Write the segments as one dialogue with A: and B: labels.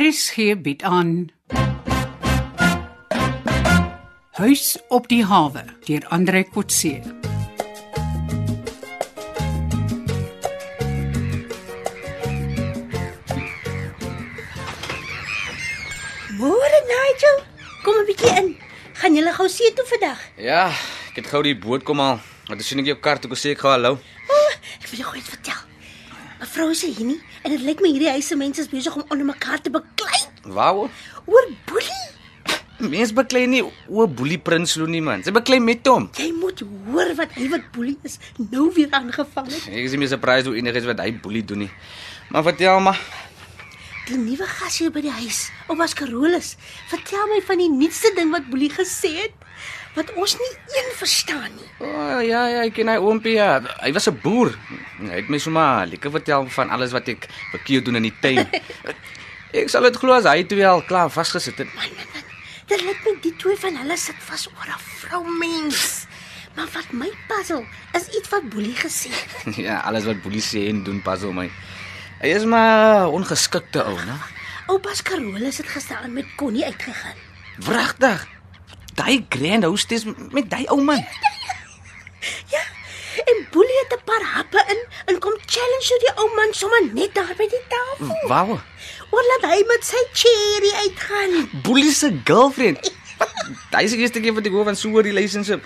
A: RSG bied aan Huis op die hawe deur Andre Kotse.
B: Môre Nigel, kom 'n bietjie in. Gaan julle gou see toe vandag?
C: Ja, ek het gou die boot kom haal. Want toe sien ek jou kar toe kom sê ek gaan hallo.
B: Oh, ek wil jou gou iets vertel. Mevrou is hier nie en dit lyk my hierdie huise mense is besig om onder mekaar te beklei
C: Waaroor?
B: oor boelie.
C: Mense beklei nie o Boelie Prinsloo nie man. Sy beklei met hom.
B: Jy moet hoor wat hy wat boelie is nou weer aangevang het.
C: Ek is nie meer surprised hoe enigiets wat hy Boelie doen nie. Maar vertel maar,
B: Die nuwe gas hier by die huis, op was Carolus. Vertel my van die nuutste ding wat boelie gesê het wat ons nie een verstaan nie.
C: o oh, ja ja, ek ken hy oompie. Ja. Hy was 'n boer. Hy het my sommer lekker vertel van alles wat ek verkeerd doen in die tuin. ek sal dit glo as hy twee al klaar vasgesit het.
B: Man, man, man. Dit lyk my die twee van hulle sit vas oor 'n vroumens. Maar wat my puzzle is iets wat Boelie gesê het.
C: ja, alles wat Boelie sê en doen pas op my. Hy is maar ongeskikte ou, né?
B: Oupas Carolus het gisteraan met Connie uitgegaan.
C: Wragtig. Daai grand hostess met daai ou man.
B: Ja. En Boelie het 'n paar happe in en kom challenge hoe die ou man sommer net daar by die tafel.
C: Wow.
B: Oor laat hy met sy cherry uitgaan.
C: Boelie se girlfriend. Daai is die eerste keer wat ek hoor van so 'n relationship.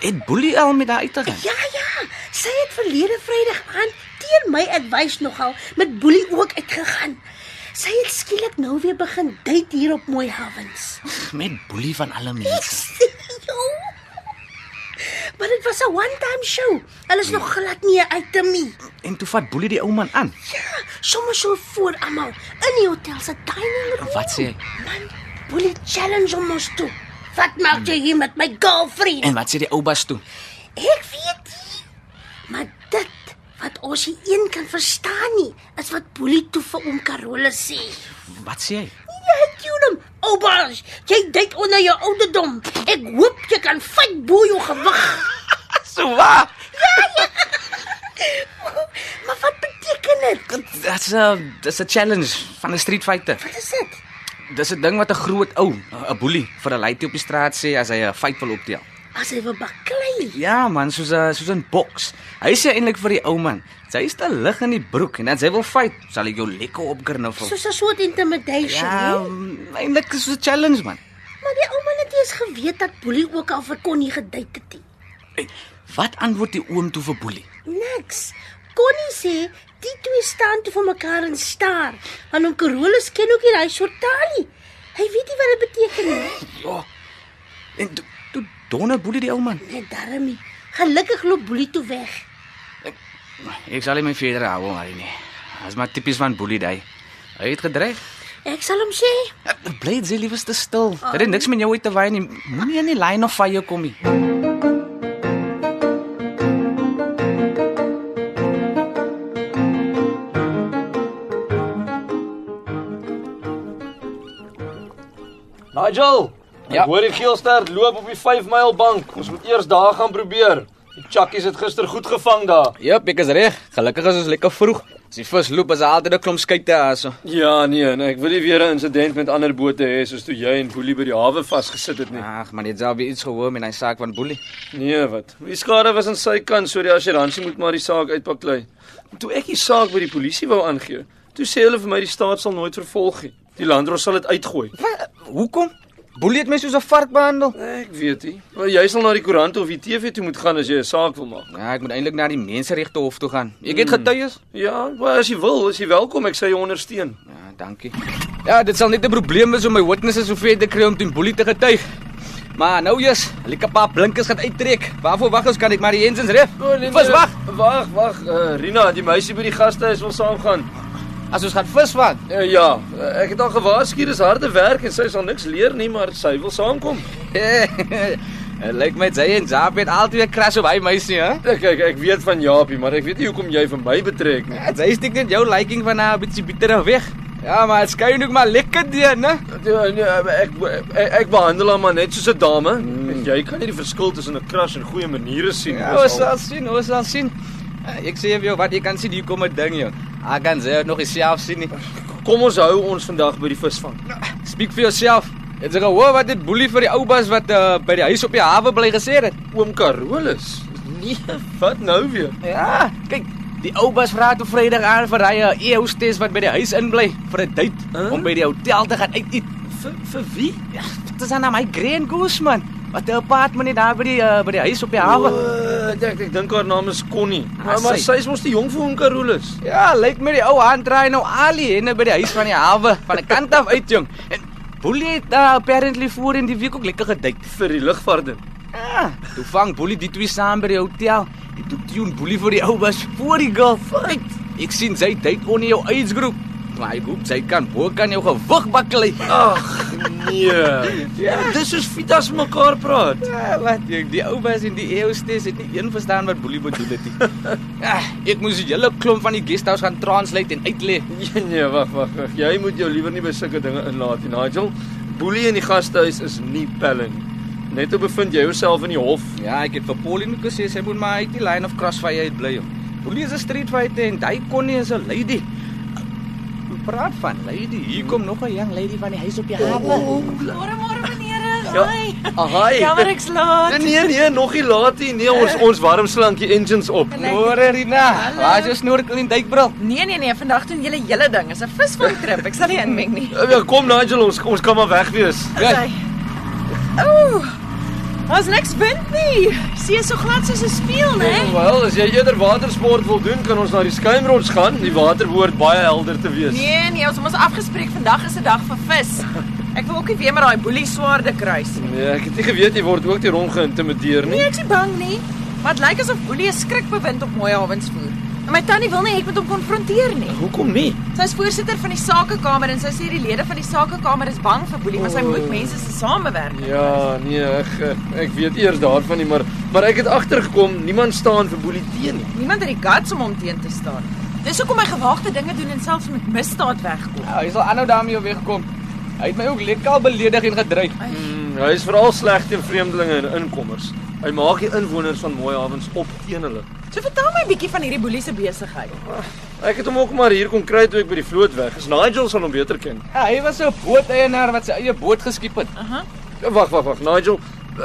C: Het Boelie al met haar uitgegaan?
B: Ja, ja. Sy het verlede Vrydag aan teen my advies nogal met Boelie ook uitgegaan. Sy het skielik nou weer begin date hier op Mooi Havens.
C: Met Boelie van alle mense.
B: Jo. Maar dit was 'n one-time show. Hulle is
C: Ja.
B: nog glad nie 'n item nie.
C: En toe vat Boelie die ou man aan.
B: Ja, sommer so voor almal in die hotel se dining room.
C: Wat sê hy?
B: Man, Boelie challenge hom mos toe. Wat maak jy hier met my girlfriend?
C: En wat sê die ou bas toe?
B: Ek weet nie. Maar dit wat ons hier een kan verstaan nie, is wat Boelie toe vir oom Carolus sê.
C: Wat sê hy?
B: Jy het hom. Oupas, jy date onder jou ouderdom. Ek hoop jy kan vyf bo jou gewig.
C: So waar.
B: Maar wat beteken dit?
C: Dit's 'n dis 'n challenge van 'n street fighter.
B: Wat is dit?
C: Dis 'n ding wat 'n groot ou, 'n boelie vir 'n laaitie op die straat sê as hy 'n fight wil optel.
B: As hy wil baklei.
C: Ja man, soos 'n soos 'n boks. Hy sê eintlik vir die ou man, sy is te lig in die broek en as hy wil fight, sal ek jou lekker opgrinnel.
B: Soos 'n soort intimidation,
C: Ja,
B: hè?
C: mm, eintlik is dit 'n challenge man.
B: Maar die ouma het nie eens geweet dat Boelie ook al vir Connie gedate het nie.
C: Hey, wat antwoord die oom toe vir Boelie?
B: Niks. Connie sê die twee staan toe vir mekaar en staar. Want oom Carolus ken ook nie daai soort taal nie. Hy weet nie wat dit beteken nie.
C: Ja. En toe toe donder Boelie die ou man.
B: Net darmie. Gelukkig loop Boelie toe weg.
C: Ek sal hom verder hou maar nie. As maar tipies van Boelie daai. Hy het gedreig.
B: Ek sal hom sê.
C: Bly dit liewer te stil. Dit het niks met jou uit te wy nie. Moenie in die lyn of fire kom nie.
D: Nigel, ek
C: Ja.
D: ja. hoor die geelster loop op die 5 myl bank. Ons moet eers daar gaan probeer. Die chakkies het gister goed gevang daar.
C: Jep, ek is reg. Gelukkig is ons lekker vroeg. As die vis loop, is daar altyd 'n klomp skyte daarso.
D: Ja, nee, nee, ek wil nie weer 'n insident met ander bote hê soos toe jy en Boelie by die hawe vasgesit het nie.
C: Ag, maar dit sou baie iets gehoor met hy saak van Boelie.
D: Nee, wat? Die skade was aan sy kant, so die assuransie moet maar die saak uitpaklei. Toe ek die saak by die polisie wou aangee, toe sê hulle vir my die staat sal nooit vervolg nie. Die landros sal dit uitgooi.
C: Wat? Hoekom? Boelie het my soos 'n vark behandel.
D: Ek weet nie. Maar jy sal na die koerant of die TV toe moet gaan as jy 'n saak wil maak.
C: Ja, ek moet eintlik na die menseregte hof toe gaan. Ek het getuies.
D: Ja, maar as jy wil, is jy welkom. Ek sê jy ondersteun.
C: Ja, dankie. Ja, dit sal net 'n probleem wees om my witnesses hoeveel te kry om teen Boelie te getuig. Maar nou jy's, lekker pa blinkers gaan uittrek. Waarvoor wag ons kan ek maar die engines reg?
D: Oh, nee,
C: Vis wag.
D: Wag, wag. Uh, Rina, die meisie by die gastehuis wil saamgaan.
C: As ons gaan visvang.
D: Uh, ja, uh, ek het haar gewaarsku, dis harde werk en sy sal niks leer nie, maar sy wil saamkom.
C: Dit lyk my jy en Jaap het altyd 'n crash op hy meisie, hè?
D: Ek Eh, kyk, ek weet van Japie, maar ek weet nie hoekom jy vir my betrek nie.
C: Ja, jy steek net jou liking van haar 'n bietjie bitterig weg. Ja, maar dit skyn ook maar lekker deur, né?
D: Ja, nee, ek ek, ek behandel haar maar net soos 'n dame. Mm. Jy kan nie die verskil tussen 'n kras en goeie maniere sien
C: Ja, ons sal sien, ons sal sien. Eh, Ek sê vir jou wat jy kan sien, hier kom 'n ding, jong. Ek kan sê nog eens self sien nie.
D: Kom ons hou ons vandag by die visvang.
C: Speak vir jouself. Het jy gehoor wat dit boelie vir die ou bas wat uh, by die huis op die hawe bly gesê het?
D: Oom Carolus. Nee, wat nou weer?
C: Ja, kyk, die ou bas vra toe Vrydag aan vir hy 'n e-hostess wat by die huis inbly vir 'n date
D: Huh?
C: om by die hotel te gaan uit eet.
D: Vir vir wie?
C: Ja, dit is aan my Grand Goose man. Wat 'n apartment net daar by die uh, by die huis op die
D: O,
C: hawe.
D: ek ek dink haar naam is Connie. Maar,
C: Ah,
D: maar
C: sy.
D: Ja, sy is mos te jong vir oom Carolus.
C: Ja, lyk my die ou hand draai nou al die henne by die huis van die hawe van 'n kant af uit jong. En Boelie het uh, apparently voor in die week ook lekker gedate.
D: Vir die lugvaarding.
C: Ah, toe vang Boelie die twee saam by die hotel. En toe tune Boelie vir die ou was voor die girl. Kyk, ek sien sy date onder jou age group. Maar hy roep sy kan bo kan jou gewig bakkel. Ah,
D: Ag nee. Ja, dis soos Vitas mekaar praat.
C: Ja, wat jy die ou was en die eeustes het nie een verstaan wat Boelie bedoel het nie. ah, ek moes die hele klomp van die guest house gaan translate en uitlê.
D: Nee, nee, wag, wag, wag. Jy moet jou liewer nie by sulke dinge inlaat nie, Nigel. Boelie in die gastehuis is nie pelle nie. Net hoe bevind jy jouself in die hof?
C: Ja, ek het vir Pauline gesê sy moet maar uit die line of crossfire uit bly. Boelie is 'n street fighter en hy kon nie is 'n lady. Praat van lady. Hier kom nog 'n jong lady van die huis op die hawe.
E: Môre môre menere.
D: Ja.
E: Hi.
D: Ahai.
E: Jammer ek's laat.
D: Nee, nee, nee, nog nie laat nie. Nee, ons ons warm slankie engines op. Oh,
C: Môre Rina, waar is jou snorkel en duikbril?
E: Nee nee nee, vandag doen julle julle ding. Is 'n visvang trip. Ek sal nie inmeng nie.
D: Ja, kom Nigel, ons ons kan maar weg wees.
C: Ja,
E: Ooh. Ons niks wind nie. See is so glad soos 'n spieël, né?
D: Wel, as jy eerder watersport wil doen, kan ons na die skuimrots gaan. Die water behoort baie helder te wees.
E: Nee nee, ons het ons afgespreek vandag is 'n dag vir vis. Ek wil ook nie weer met daai boelie swaarde kruis nie.
D: Nee, ek het nie geweet jy word ook deur hom geïntimideer
E: Nee,
D: nie.
E: ek's nie bang nie. Maar dit lyk asof boelie 'n skrikbewind op mooi hawens voer. En my tannie wil nie ek moet hom konfronteer nie.
D: Hoekom nie?
E: Sy's voorsitter van die sakekamer en sy sê die lede van die sakekamer is bang vir boelie, maar sy moet mense se samewerk.
D: Ja, nee, ek ek weet eers daarvan nie, maar maar ek het agtergekom, niemand staan vir boelie teen nie.
E: Niemand het die guts om hom teen te staan. Dis hoekom hy gewaagde dinge doen en selfs met misdaad wegkom.
C: Ja, hy sal aanhou daarmee wegkom. Hy het my ook lekker beledig en gedreig.
D: Mm, hy is veral sleg teen vreemdelinge en inkommers. Hy maak die inwoners van Mooi Hawens op teen hulle.
E: So vertel my 'n bietjie van hierdie boelie se besigheid.
D: Ek het hom ook maar hier kom kry toe ek by die vloot weg is. Nigel sal hom beter ken.
C: Ja, hy was 'n booteienaar wat sy eie boot geskiep het.
D: Ja, Wag, wag, wag. Nigel,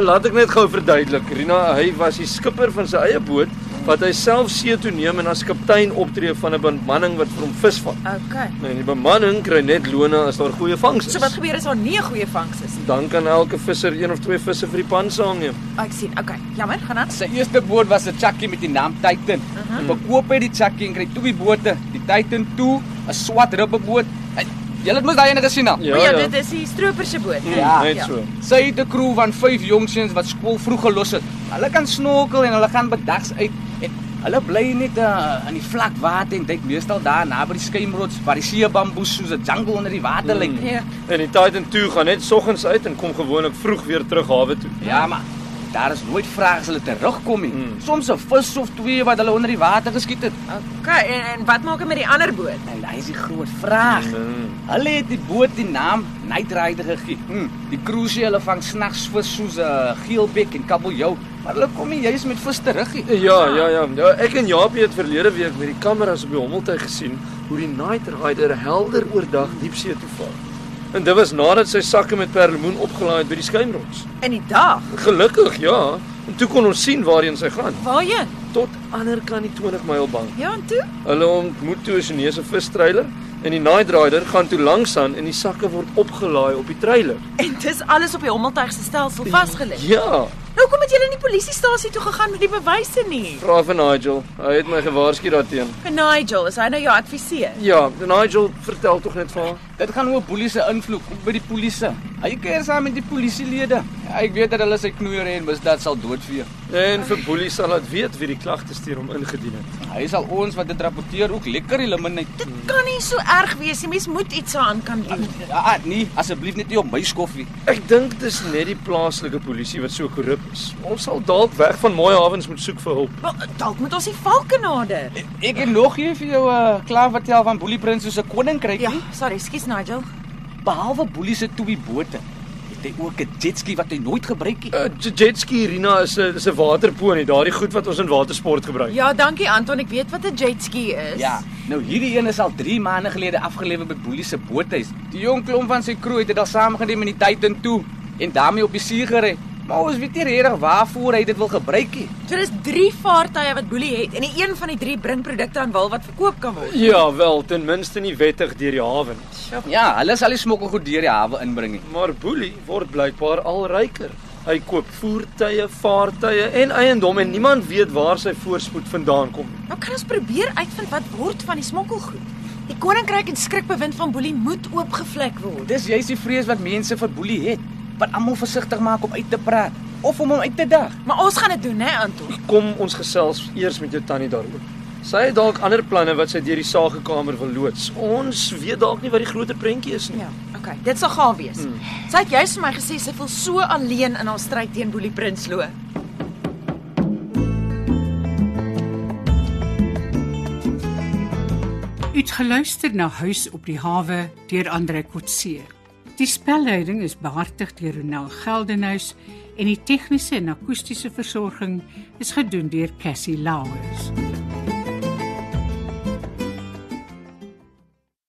D: laat ek net gou verduidelik. Rina, hy was die skipper van sy eie boot wat hy self see toe neem en as kaptein optree van 'n bemanning wat vir hom vis vang.
E: Okay.
D: Nee, en die bemanning kry net lone as daar goeie vangs is.
E: So wat gebeur as daar nie 'n goeie vangs is nie?
D: Dan kan elke visser een of twee visse vir die pan saamneem.
E: Ek sien. Okay. Jammer, gaan aan.
C: Sy eerste boot was 'n Chucky met die naam Titan.
E: Mhm.
C: Hy Verkoop hy die Chucky en kry twee bote, die Titan 2, 'n swart rubberboot. Hy- Julle het mos daai ene gesien al.
E: Ja, ja, dit is die stroper se boot. né?
D: Ja, net so.
C: Sy het 'n crew van 5 jong seuns wat skool vroeg gelos het. Hulle kan snorkel en hulle gaan bedags uit en hulle bly net uh, in die vlak water en duik meestal daar naby die skuimrots waar die seebamboes soos 'n jungle onder die water lyk.
E: Ja.
D: Hmm. En die Titan 2 gaan net soggens uit en kom gewoonlik vroeg weer terug hawe toe.
C: Ja, maar daar is nooit vraag as hulle terugkom nie.
D: Mm.
C: Soms 'n vis of twee wat hulle onder die water geskiet het.
E: Okay, en, en wat maak hy met die ander boot?
C: En hy Nou, is die groot vraag.
D: Mm.
C: Hulle het die boot die naam Night Rider gegee. Hmm. Die cruise hulle vang snags vis soos 'n uh, geelbek en kabeljou, maar hulle kom nie juis met vis terug nie.
D: Ja, ja, ja, ja. Ek en Japie het verlede week met die kameras op die hommeltuig gesien hoe die Night Rider helder oordag diepsee toe vaar. En dit was nadat sy sakke met perlemoen opgelaai het by die skuimrots.
E: In die dag.
D: Gelukkig, ja. En toe kon ons sien waarheen sy gaan.
E: Waarheen?
D: Tot ander kan die 20 myl bank.
E: Ja, en toe?
D: Hulle ontmoet toe 'n Chinese vistreiler en die Night Rider gaan toe langs aan en die sakke word opgelaai op die treiler.
E: En dis alles op die hommeltuig se stelsel vasgelê.
D: Ja,
E: Nou kom het julle nie polisiestasie toe gegaan met die bewyse nie.
D: vra vir Nigel. Hy het my gewaarsku daarteen.
E: En Nigel, is hy nou jou adviseur?
D: Ja, Nigel vertel tog net vir haar.
C: Dit gaan oor boelie se invloed op by die polisie. Hy keer saam met die polisielede. Ek weet dat hulle sy knoeier en misdaad sal doodvee.
D: En vir Boelie sal laat weet wie die klagte stuur om ingedien het.
C: Hy sal ons wat dit rapporteer ook lekker elimineer.
E: Dit kan nie so erg wees nie. Mens moet iets daaraan kan doen.
C: Ah, nee, asseblief net nie op my skof nie.
D: Ek dink dis net die plaaslike polisie wat so korrup is. Ons sal dalk weg van Mooi Hawens moet soek vir hulp.
E: Wel, dalk moet ons die valke nader.
C: Ek het nog hier vir jou 'n uh, klaar vertel van boelie prins soos 'n koninkryk
E: Ja,
C: nie.
E: sorry, skus Nigel.
C: Behalwe boelie se twee bote, het het hy ook 'n jetski wat hy nooit gebruik het.
D: Uh, jetski Rina is 'n is 'n waterponie, daardie goed wat ons in watersport gebruik.
E: Ja, dankie Anton, ek weet wat 'n jet ski is.
C: Ja, nou hierdie een is al 3 maande gelede afgelewer by Boelie se boothuis. Die jong klomp van sy crew het dit al saamgeneem in die Titan toe en daarmee op die see gery. Maar ons weet nie regtig waarvoor hy dit wil gebruik nie.
E: So dis 3 vaartuie wat Boelie het en die een van die 3 bring produkte aan Wil wat verkoop kan word.
D: Ja, wel, ten minste nie wettig deur die hawe nie.
C: Ja, hulle sal die smokkelgoed deur die hawe inbring nie.
D: Maar Boelie word blykbaar al ryker. Hy koop voertuie, vaartuie en eiendom en niemand weet waar sy voorspoed vandaan kom nie.
E: Nou kan ons probeer uitvind wat word van die smokkelgoed. Die koninkryk en skrikbewind van Boelie moet oopgevlek word.
C: Dis juist die vrees wat mense vir Boelie het, wat almal versigtig maak om uit te praat of om hom uit te dag.
E: Maar ons gaan dit doen, hè Anton.
D: Kom ons gesels eers met jou tannie daaroor. Sy het dalk ander planne wat sy deur die sagekamer wil loods. Ons weet dalk nie wat die groter prentjie is nie.
E: Ja, okay, dit sal gaan wees. Hmm. Sy het juis vir my gesê sy voel so alleen in haar stryd teen Boelie Prinsloo.
A: U het geluister na Huis op die hawe deur Andre Kotse. Die spelleiding is behartig deur Ronel Geldenhuys en die tegniese en akoestiese versorging is gedoen deur Cassie Lauers.